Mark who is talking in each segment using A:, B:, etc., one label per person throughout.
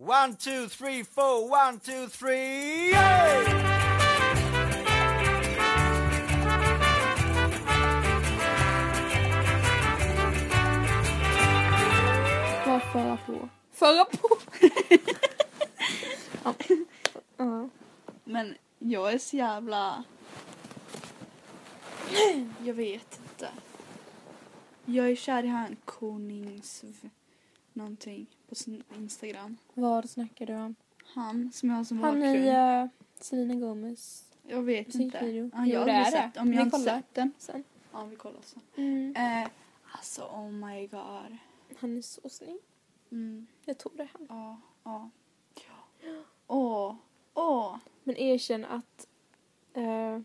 A: One, two, three, four, one, two, three, yay!
B: Vad föra på?
C: Föra på.
B: Ja.
C: Men jag är så jävla... Jag vet inte. Jag är kär i han Konings... Någonting på sin Instagram.
B: Vad snackar du om?
C: Han som jag har som
B: Han i
C: bakgrund.
B: uh, Selena Gomez
C: Jag vet inte.
B: musikvideo.
C: Ja, jag
B: Jo,
C: har
B: det
C: aldrig
B: är det.
C: sett, om
B: Vi
C: jag har inte
B: kollar.
C: sett den.
B: sen.
C: Ja, vi kollar sen.
B: Mm.
C: Eh, alltså, oh my god.
B: Han är så snygg.
C: Mm,
B: Jag tog det hem.
C: ja, ja. Ja. Åh, åh.
B: Men erkänn att eh,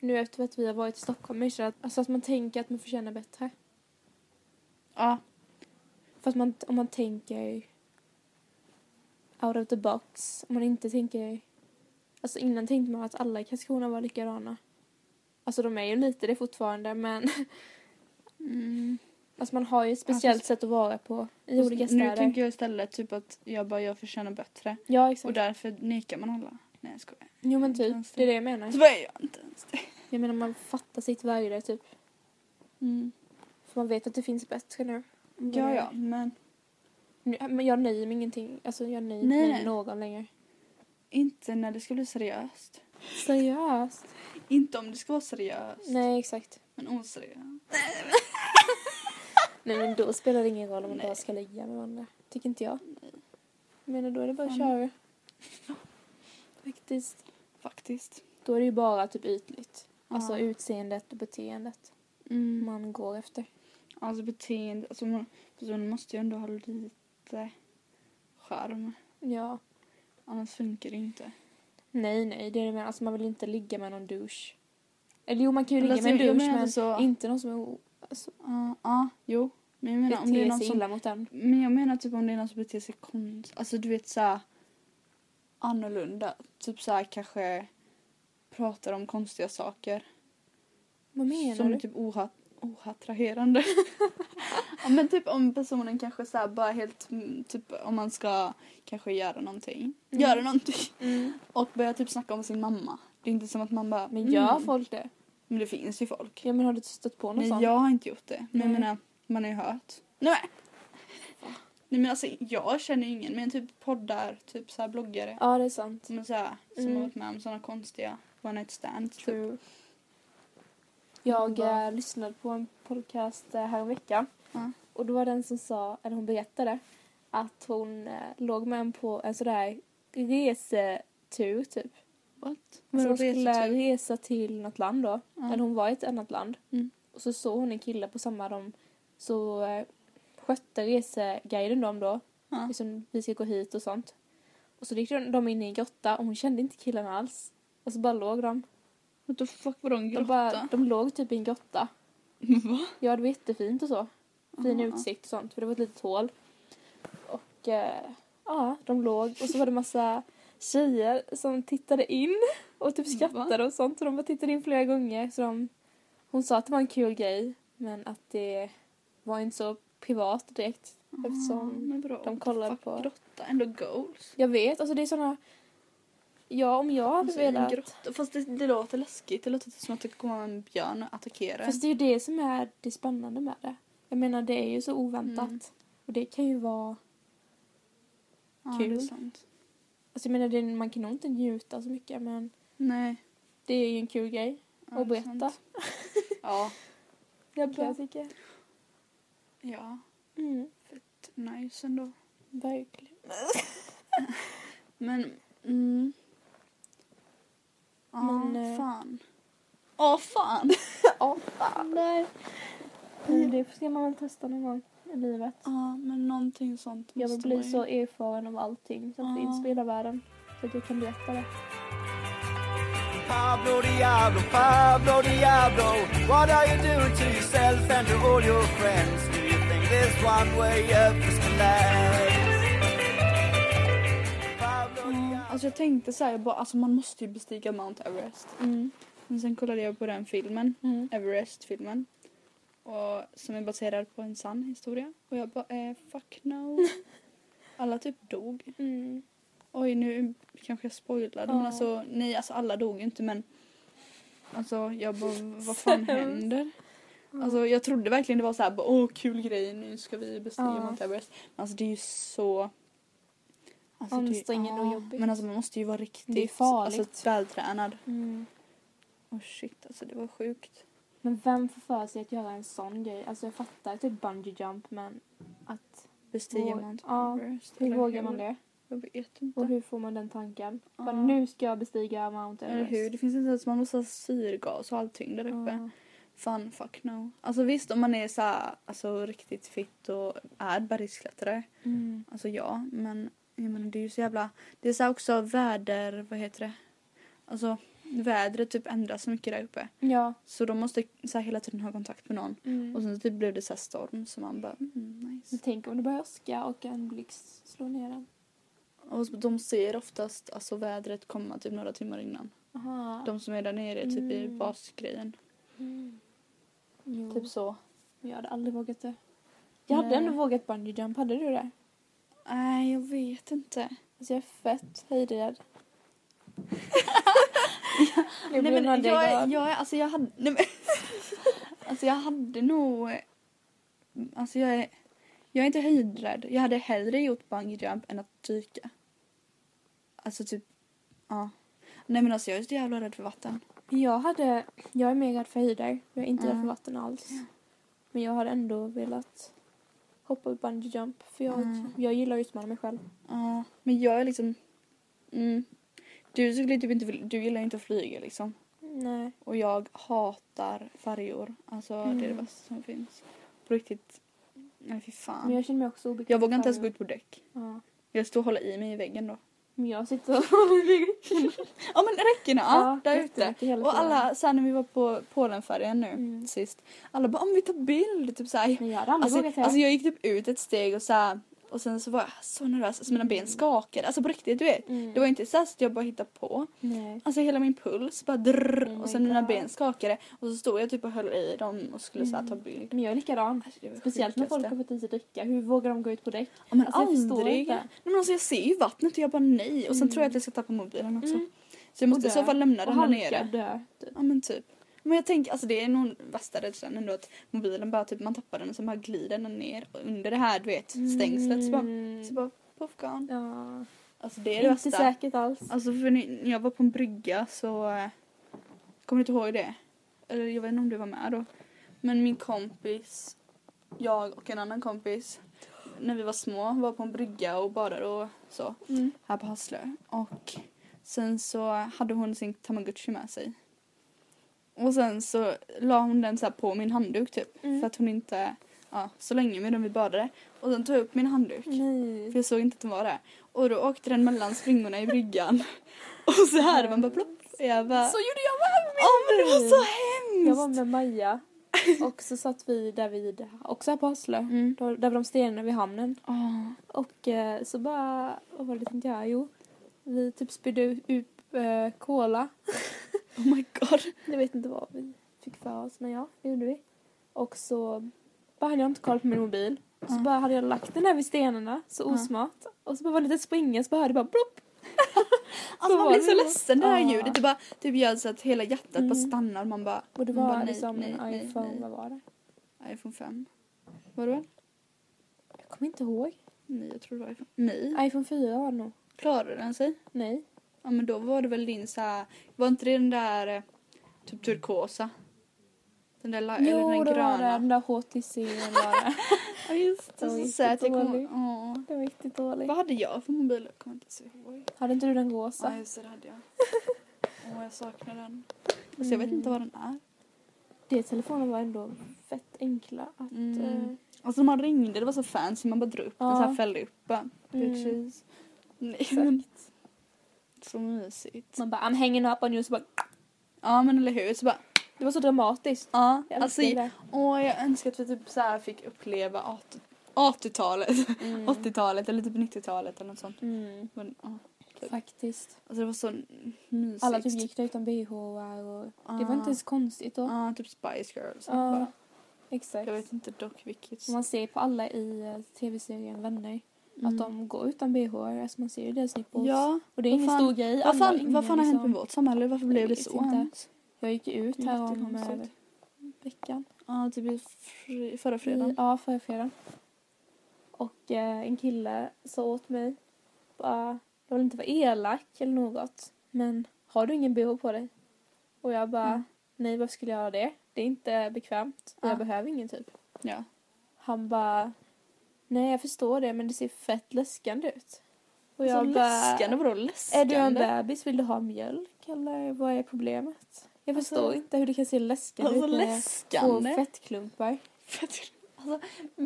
B: nu efter att vi har varit i Stockholm, erkänn att, alltså att man tänker att man förtjänar bättre.
C: Ja,
B: Fast man, om man tänker out of the box, om man inte tänker... Alltså innan tänkte man att alla i Karlskrona var likadana. Alltså de är ju lite det fortfarande men
C: mm.
B: alltså man har ju ett speciellt sätt att vara på i olika städer.
C: Nu tänker jag istället typ att jag bara jag förtjänar bättre.
B: Ja
C: Liksom. Och
B: exakt.
C: därför nekar man alla. Nej jag skojar.
B: jo men typ, det är det jag menar.
C: Så var jag inte ens det.
B: Jag menar man fattar sitt värde typ.
C: Mm.
B: För man vet att det finns bättre nu.
C: Ja ja men
B: nu men jag nöjer mig ingenting, alltså jag nöjer
C: Nej,
B: mig
C: nej.
B: med någon längre.
C: inte när det ska bli seriöst.
B: Seriöst?
C: Inte om det ska vara seriöst.
B: Nej exakt.
C: Men oseriöst.
B: Nej men då spelar det ingen roll om man
C: Nej.
B: bara ska ligga med varandra. Tycker inte jag. Jag menar då är det bara att
C: Ja,
B: köra. Faktiskt.
C: Faktiskt.
B: Då är det ju bara typ ytligt. Alltså
C: Ja.
B: utseendet och beteendet
C: Mm.
B: man går efter.
C: Alltså beteende. Alltså man, personen måste ju ändå ha lite charm.
B: Ja.
C: Annars funkar det ju inte.
B: Nej nej, det är det jag menar. Alltså man vill inte ligga med någon douche. Eller jo man kan ju
C: Eller
B: ligga med en
C: alltså, jag
B: douche
C: menar
B: men
C: så-
B: inte någon som är o- alltså,
C: Ja, ja, jo. Men jag menar om det är
B: beter
C: någon
B: sig
C: som
B: illa mot den.
C: Men jag menar typ om det är någon som beter sig konstigt. Alltså du vet såhär annorlunda. Typ såhär kanske pratar om konstiga saker.
B: Vad menar
C: som är
B: du?
C: typ oha- oattraherande. ja, men typ om personen kanske såhär bara helt mm, typ om man ska kanske göra någonting.
B: Mm.
C: Göra någonting.
B: Mm.
C: Och börja typ snacka om sin mamma. Det är inte som att man bara
B: Men gör
C: mm.
B: folk det?
C: Men det finns ju folk.
B: Ja men har du stött på något
C: Nej,
B: sånt?
C: jag har inte gjort det. Men jag
B: Nej.
C: menar, man har ju hört. Nej, men. Nej men alltså jag känner ju ingen men typ poddar, typ så här bloggare.
B: Ja det är sant.
C: Som, är så här, som
B: Mm.
C: har varit med om sådana konstiga one night stands. Typ.
B: True. Jag
C: Vad?
B: eh, lyssnade på en podcast eh, häromveckan.
C: Ja.
B: Och då var det en som sa, eller hon berättade, att hon eh, låg med en på en sån där resetur typ.
C: What?
B: Så hon
C: Vadå
B: skulle
C: resetur?
B: resa till något land då.
C: typ- Ja.
B: Eller hon var i ett annat land.
C: Mm.
B: Och så såg hon en kille på samma de Så eh, skötte reseguiden dem då.
C: Ja.
B: Liksom, vi ska gå hit och sånt. Och så gick de- de in i en grotta och hon kände inte killen alls. Och så bara låg de.
C: What the fuck var de
B: De,
C: grotta?
B: bara, de låg typ i en grotta.
C: Va?
B: Ja, det var jättefint och så. Fin
C: Ja.
B: utsikt och sånt, för det var ett litet hål. Och eh, ja, de låg och så var det massa tjejer som tittade in och typ skrattade och sånt. Så de bara tittade in flera gånger. Så de, hon sa att det var en kul grej, men att det var inte så privat direkt.
C: Ja,
B: Eftersom
C: men bra.
B: de kollar
C: Fuck,
B: på-
C: Grotta, ändå goals.
B: jag vet, alltså det är såna... Ja, om jag hade
C: Alltså, i en
B: velat...
C: grotta. Fast det, det låter läskigt. Det låter typ som att det kommer en björn och attackerar.
B: Fast det är ju det som är det spännande med det. Jag menar, det är ju så oväntat.
C: Mm.
B: Och det kan ju vara...
C: ja,
B: kul.
C: det är sant.
B: Alltså jag menar, det, man kan nog inte njuta så mycket, men
C: Nej.
B: det är ju en kul grej
C: Ja,
B: att
C: det är
B: berätta.
C: sant. Ja.
B: Jag
C: bara-
B: tycker.
C: Ja.
B: Mm,
C: Nice ändå.
B: verkligen.
C: Men... Mm. Ja,
B: Men, eh,
C: fan. Åh, fan!
B: Ja, fan. Nej. Men det ska man väl testa någon gång i livet.
C: Ja, men någonting sånt
B: Jag vill
C: måste
B: bli
C: man ju-
B: så erfaren av allting som
C: Ja.
B: finns på hela världen. Så att jag kan berätta det.
A: Pablo Diablo, Pablo Diablo, what are you doing to yourself and to all your friends? Do you think this one way up is the last? Pablo
C: Ja,
A: Diablo.
C: Alltså jag tänkte så här, jag bara, alltså man måste ju bestiga Mount Everest.
B: Mm.
C: Men sen kollade jag på den filmen,
B: Mm.
C: Everest-filmen. Och, som är baserad på en sann historia. Och jag bara, eh, fuck no. Alla typ dog.
B: Mm.
C: Oj, nu kanske jag spoilade. Men
B: Ja.
C: alltså, nej, alltså alla dog ju inte men Alltså jag bara, vad fan
B: Sämst.
C: händer?
B: Mm.
C: Alltså jag trodde verkligen det var så här, bara, åh kul grej, nu ska vi bestiga
B: Ja.
C: Mount Everest. Men alltså det är ju så alltså, det-
B: Ansträngande och
C: ja,
B: jobbigt.
C: Men alltså man måste ju vara riktigt
B: Det är farligt.
C: Alltså, vältränad.
B: Mm.
C: Åh shit, alltså det var sjukt.
B: Men vem får för sig att göra en sån grej? Alltså jag fattar typ bungee jump men att...
C: Bestiga
B: Våg-
C: Mount
B: ja,
C: Everest.
B: Hur
C: eller
B: vågar man det?
C: Jag vet
B: Och
C: inte.
B: hur får man den tanken?
C: Ja.
B: Bara, nu ska jag bestiga Mount
C: Eller
B: Everest.
C: hur? Det finns inte ens, man måste ha syrgas och allting där uppe.
B: Ja.
C: Fan, fuck no. Alltså visst om man är så här, alltså riktigt fit och är bergsklättrare.
B: Mm.
C: Alltså ja, men jag menar det är ju så jävla... Det är så här också väder, vad heter det? Alltså vädret typ ändras så mycket där uppe.
B: Ja.
C: Så de måste så här hela tiden ha kontakt med någon.
B: Mm.
C: Och sen typ blev det så här storm så man bara mm, nice.
B: Men tänk om det börjar åska och en blixt slår ner den.
C: Och så- de ser oftast alltså vädret komma typ några timmar innan.
B: Aha.
C: De som är där nere typ i
B: Mm.
C: basgrejen.
B: Mm. Jo.
C: Typ så.
B: Jag hade aldrig vågat det. Jag hade
C: Nej.
B: ändå vågat bungee jump, hade du det?
C: Nej, jag vet inte.
B: Alltså jag är fett höjdrädd. Nu
C: Nej,
B: blir
C: men jag,
B: Nadja
C: jag,
B: glad.
C: jag, alltså jag hade... Nej, men, alltså jag hade nog... eh, Alltså jag är, jag är inte höjdrädd. Jag hade hellre gjort bungee jump än att dyka. Alltså typ... Ja. Nej men alltså jag är så jävla rädd för vatten.
B: Jag hade, jag är mer rädd för höjder. Jag är inte rädd för
C: Mm.
B: vatten alls. Men jag hade ändå velat hoppa upp bungee jump för jag,
C: Mm.
B: jag gillar att utmana mig själv.
C: Ja. Men jag är liksom... Mm. Du skulle typ inte vilja- Du gillar ju inte att flyga liksom.
B: Nej.
C: Och jag hatar färjor. Alltså det är det
B: Mm.
C: värsta som finns. På riktigt. Nej fy fan.
B: Men
C: Jag,
B: jag känner mig också obekväm.
C: vågar inte
B: för-
C: ens gå ut på däck.
B: Ja.
C: Jag står och håller i mig i väggen då.
B: Men jag sitter och håller i
C: Ja men räckena, ja, där ute.
B: jättemycket hela
C: Och
B: tiden.
C: alla, så här, när vi var på Polenfärjan nu
B: Mm.
C: sist. Alla bara om vi tar bild, typ så här.
B: Men jag hade aldrig
C: Alltså,
B: vågat det.
C: alltså jag gick typ ut ett steg och så här, och sen så var jag så nervös, alltså mina ben skakade. Alltså på riktigt du vet.
B: Mm.
C: Det var inte så här att jag bara hittade på.
B: Nej.
C: Alltså hela min puls bara drrr,
B: Oh my
C: och sen mina
B: God.
C: ben skakade och så stod jag typ och höll i dem och skulle så här, ta bild.
B: Men jag är likadan.
C: Alltså, det var
B: Mm. Speciellt när folk
C: sjukaste.
B: har fått i sig dricka. Hur vågar de gå ut på däck?
C: Ja, men
B: Alltså, jag förstår
C: aldrig.
B: inte.
C: Nej, men alltså, jag ser ju vattnet och jag bara nej. Och sen
B: Mm.
C: tror jag att jag ska tappa mobilen också.
B: Mm.
C: Så jag måste i
B: dö.
C: så fall lämna
B: Och
C: den här
B: han
C: nere.
B: ska dö. typ.
C: Ja men typ. Men jag tänker, alltså det är nog värsta rädslan ändå att mobilen bara typ man tappar den och så bara glider den ner och under det här du vet stängslet så bara,
B: Mm.
C: så bara poff gone.
B: Ja.
C: Alltså det är det
B: Inte
C: värsta.
B: säkert alls.
C: Alltså för ni- när jag var på en brygga så eh, kommer du inte ihåg det? Eller jag vet inte om du var med då. Men min kompis, jag och en annan kompis när vi var små var på en brygga och badade och så
B: Mm.
C: här på Hasslö. Och sen så hade hon sin Tamagotchi med sig. Och sen så la hon den så här på min handduk typ.
B: Mm.
C: För att hon inte, ja, så länge medan vi badade. Och sen tog jag upp min handduk.
B: Mm. Nej.
C: För jag såg inte att den var där. Och då åkte den mellan springorna i bryggan. Och så här, man bara
B: Mm.
C: plopp. Och jag bara...
B: Så gjorde jag med
C: Ja men det var så
B: Jag var
C: hemskt!
B: med Maja och så satt vi där vid, också här på Hasslö.
C: Mm.
B: Då- Där var de stenarna vid hamnen.
C: Åh.
B: Och eh, så bara, vad var det tänkte jag? Jo, vi typ spydde upp eh, cola.
C: Oh my god.
B: Jag vet inte vad vi fick för oss, men ja, det gjorde vi. Och så bara hade jag inte koll på min mobil. Så
C: Ja.
B: bara hade jag lagt den där vid stenarna, så
C: Ja.
B: osmart. Och så bara var det lite springa, så bara hörde jag bara plopp.
C: Alltså man
B: var
C: blir
B: det
C: så
B: då.
C: ledsen det här
B: Ja.
C: ljudet. Det bara typ gör så att hela hjärtat bara
B: Ah. Mm.
C: stannar. Man bara...
B: Och det
C: man
B: var
C: bara, nej,
B: liksom
C: nej,
B: en
C: nej,
B: iPhone,
C: nej.
B: vad var det?
C: iPhone 5. Var det väl?
B: Jag kommer inte ihåg.
C: Nej, jag tror det var iPhone. Nej.
B: iPhone 4 var det nog.
C: Klarade den sig?
B: Nej.
C: Ja, men då var det väl din så här... Var inte det den där eh, typ turkosa? Den där la- eller
B: jo, det
C: den där
B: var det.
C: gröna.
B: Den där HTC var det.
C: Ja, just
B: Den var
C: Så söt. Jag kommer...
B: jättedålig.
C: Ja.
B: Den var riktigt dålig.
C: Vad hade jag för mobil? Jag kommer inte ens ihåg.
B: Hade inte du den
C: Ja,
B: rosa?
C: just det. det hade jag. Åh, jag saknar den. Alltså, jag vet
B: Mm.
C: inte vad den är.
B: De telefonen var ändå fett enkla att...
C: Mm.
B: eh,
C: Alltså, när man ringde, det var så fancy. Man bara drog upp den,
B: Ja.
C: så här fällde upp den.
B: Mm.
C: Bitches. Nej, men... Så mysigt.
B: Man bara I'm hanging up on you, så bara...
C: Ja, men eller hur? Så bara...
B: Det var så dramatiskt.
C: Ja,
B: Jag
C: alltså...
B: älskar det.
C: Åh, jag önskar att vi typ så här fick uppleva 80 80-talet. 80-talet eller typ 90-talet eller något sånt.
B: Mm.
C: Men, ja.
B: Faktiskt.
C: Alltså det var så mysigt.
B: Alla typ gick där utan bh och... Det var inte ens konstigt då.
C: Ja, typ Spice Girls.
B: Ja,
C: Bara.
B: Exakt.
C: Jag vet inte dock vilket. Mm.
B: Och Man ser på alla i eh, tv-serien Vänner Att de går utan bh, alltså man ser ju deras nipples.
C: Ja.
B: Och det är
C: Vad
B: ingen
C: fan-
B: stor grej.
C: Vad
B: Alla-
C: fan,
B: ingen
C: vad fan har hänt
B: liksom-
C: med vårt samhälle? Varför blev det
B: vet
C: så?
B: inte. Jag gick ju ut här om eh,
C: Jättekonstigt.
B: veckan.
C: Ja, typ i fr- förra
B: I,
C: fredagen.
B: ja, förra fredagen. Och eh, en kille sa åt mig, bara, jag vill inte vara elak eller något, men har du ingen bh på dig? Och jag bara,
C: Mm.
B: nej varför skulle jag ha det? Det är inte bekvämt, och
C: Ja.
B: jag behöver ingen typ.
C: Ja.
B: Han bara, nej jag förstår det men det ser fett läskande ut. Och
C: Och
B: jag
C: jag
B: bara,
C: Alltså, läskande, vadå
B: är du
C: läskande?
B: en bebis? Vill du ha mjölk? Eller vad är problemet? Jag
C: Alltså-
B: förstår inte hur det kan se läskande
C: Alltså
B: ut med två
C: läskande?
B: fettklumpar.
C: Fett- Alltså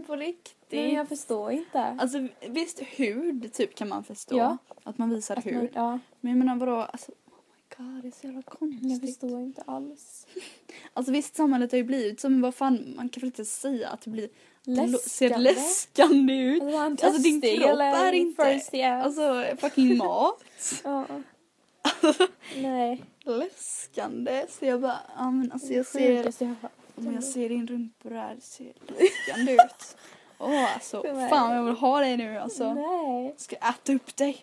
C: på riktigt.
B: Nej, men jag förstår inte.
C: Alltså visst hud typ kan man förstå.
B: Ja.
C: Att man visar
B: Att man-
C: hud.
B: Alltså, ja,
C: Men jag menar vadå alltså. Oh my god det är så jävla konstigt.
B: jag förstår inte alls.
C: Alltså visst samhället har ju blivit så men vad fan man kan väl inte säga att det blir
B: Läskande.
C: ser läskande ut.
B: Alltså, var han
C: Alltså, din
B: törstig
C: kropp
B: eller
C: är inte-
B: thirsty?
C: Alltså fucking mat.
B: Ja. Nej.
C: läskande. Så jag bara ja men alltså jag
B: Det sjukaste
C: ser.
B: jag har hört.
C: Om jag ser din rumpa där det ser läskande ut. Åh alltså
B: Det var-
C: fan jag vill ha dig nu alltså.
B: Nej.
C: Ska äta upp dig.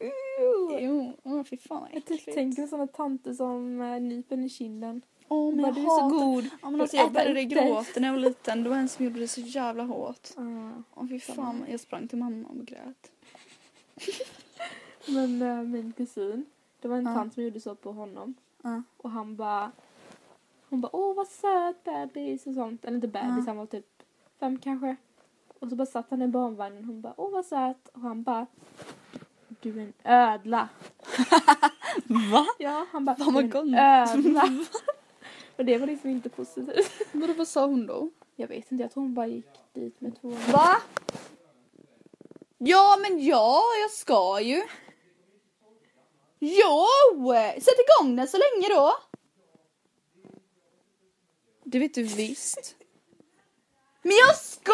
B: Ew.
C: Jo, oh, fy fan vad
B: Jag typ
C: äckligt.
B: tänker på sådana tanter som äh, nyper en i kinden.
C: Åh, men
B: Bara,
C: jag
B: du är så
C: hatar-
B: god.
C: Ja, men alltså, jag
B: Äta
C: började
B: upp dig.
C: gråta när jag var liten. Det var en som gjorde det så jävla hårt.
B: Ja.
C: Åh fy fan, jag sprang till mamma och grät.
B: Men eh, min kusin, det var en
C: Ja.
B: tant som gjorde så på honom.
C: Ja.
B: Och han bara, hon bara åh vad söt bebis och sånt. Eller inte bebis,
C: Ja.
B: han var typ fem kanske. Och så bara satt han i barnvagnen och hon bara åh vad söt. Och han bara, du är en ödla.
C: Va?
B: Ja, han bara,
C: Vad
B: du är en
C: gott.
B: ödla. och det var liksom inte positivt.
C: Vadå, vad sa hon då?
B: Jag vet inte, jag tror hon bara gick dit med två
C: Va? Ja, men ja, jag ska ju. Jo! Sätt igång den så länge då. Det vet du visst. Men jag ska!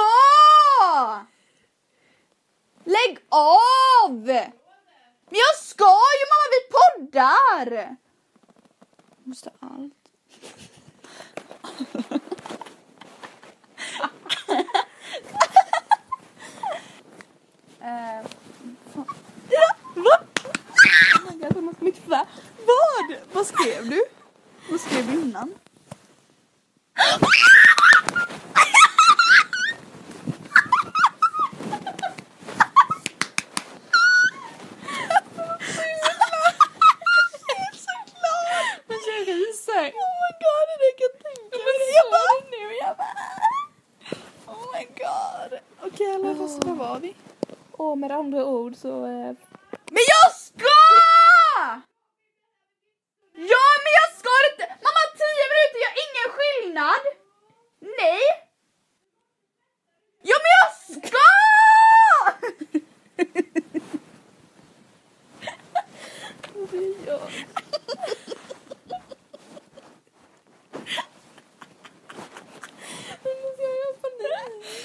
C: Lägg av! Men jag ska ju mamma, vi poddar! Måste allt. Eh, fan. Va? Jag tror man ska mycket för. Vad? Vad skrev du? Vad skrev du innan? Men jag ryser. Oh my god, det räcker att tänka. Jag bara... Nu, jag bara... Oh my god. Okej, alla fast var var vi?
B: Och med andra ord så, eh,
C: Men jag ska! Ja, men jag ska inte! Mamma, tio minuter gör ingen skillnad! Nej! Ja, men jag ska!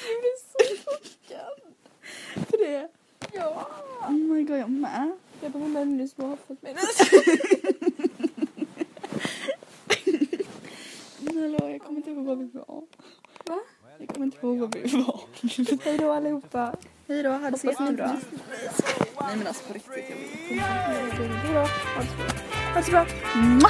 C: Jag blir så chockad. För det? Ja. Oh my god, jag med.
B: jag bara hon är nu som har fått mig.
C: Men hallå, jag kommer inte ihåg var vi var.
B: Va?
C: Jag kommer inte ihåg var vi var.
B: Hej då allihopa.
C: Hej då, ha det så jättebra. Nej men alltså på riktigt, jag vill.
B: Hej då. Ha det så bra.
C: Ha det så bra. Mua!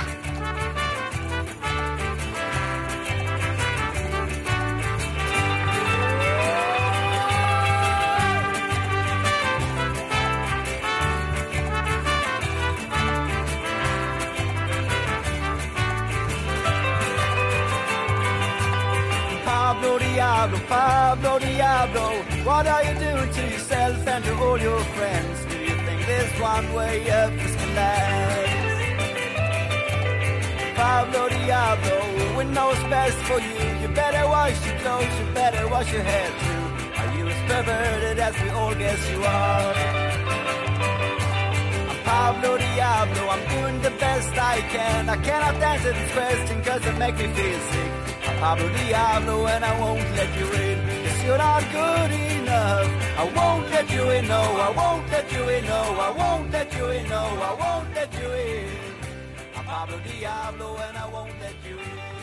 A: Pablo Diablo, Pablo Diablo, what are you doing to yourself and to all your friends? Do you think there's one way up this can last? Pablo Diablo, with no space for you, you better wash your clothes, you better wash your hair too. Are you as perverted as we all guess you are? I'm Pablo Diablo, I'm doing the best I can. I cannot answer this question cause it makes me feel sick. I'm Pablo Diablo and I won't let you in. Cause you're not good enough. I won't let you in, no, I won't let you in, no, I won't let you in, no, I won't let you in. I'm Pablo Diablo and I won't let you in.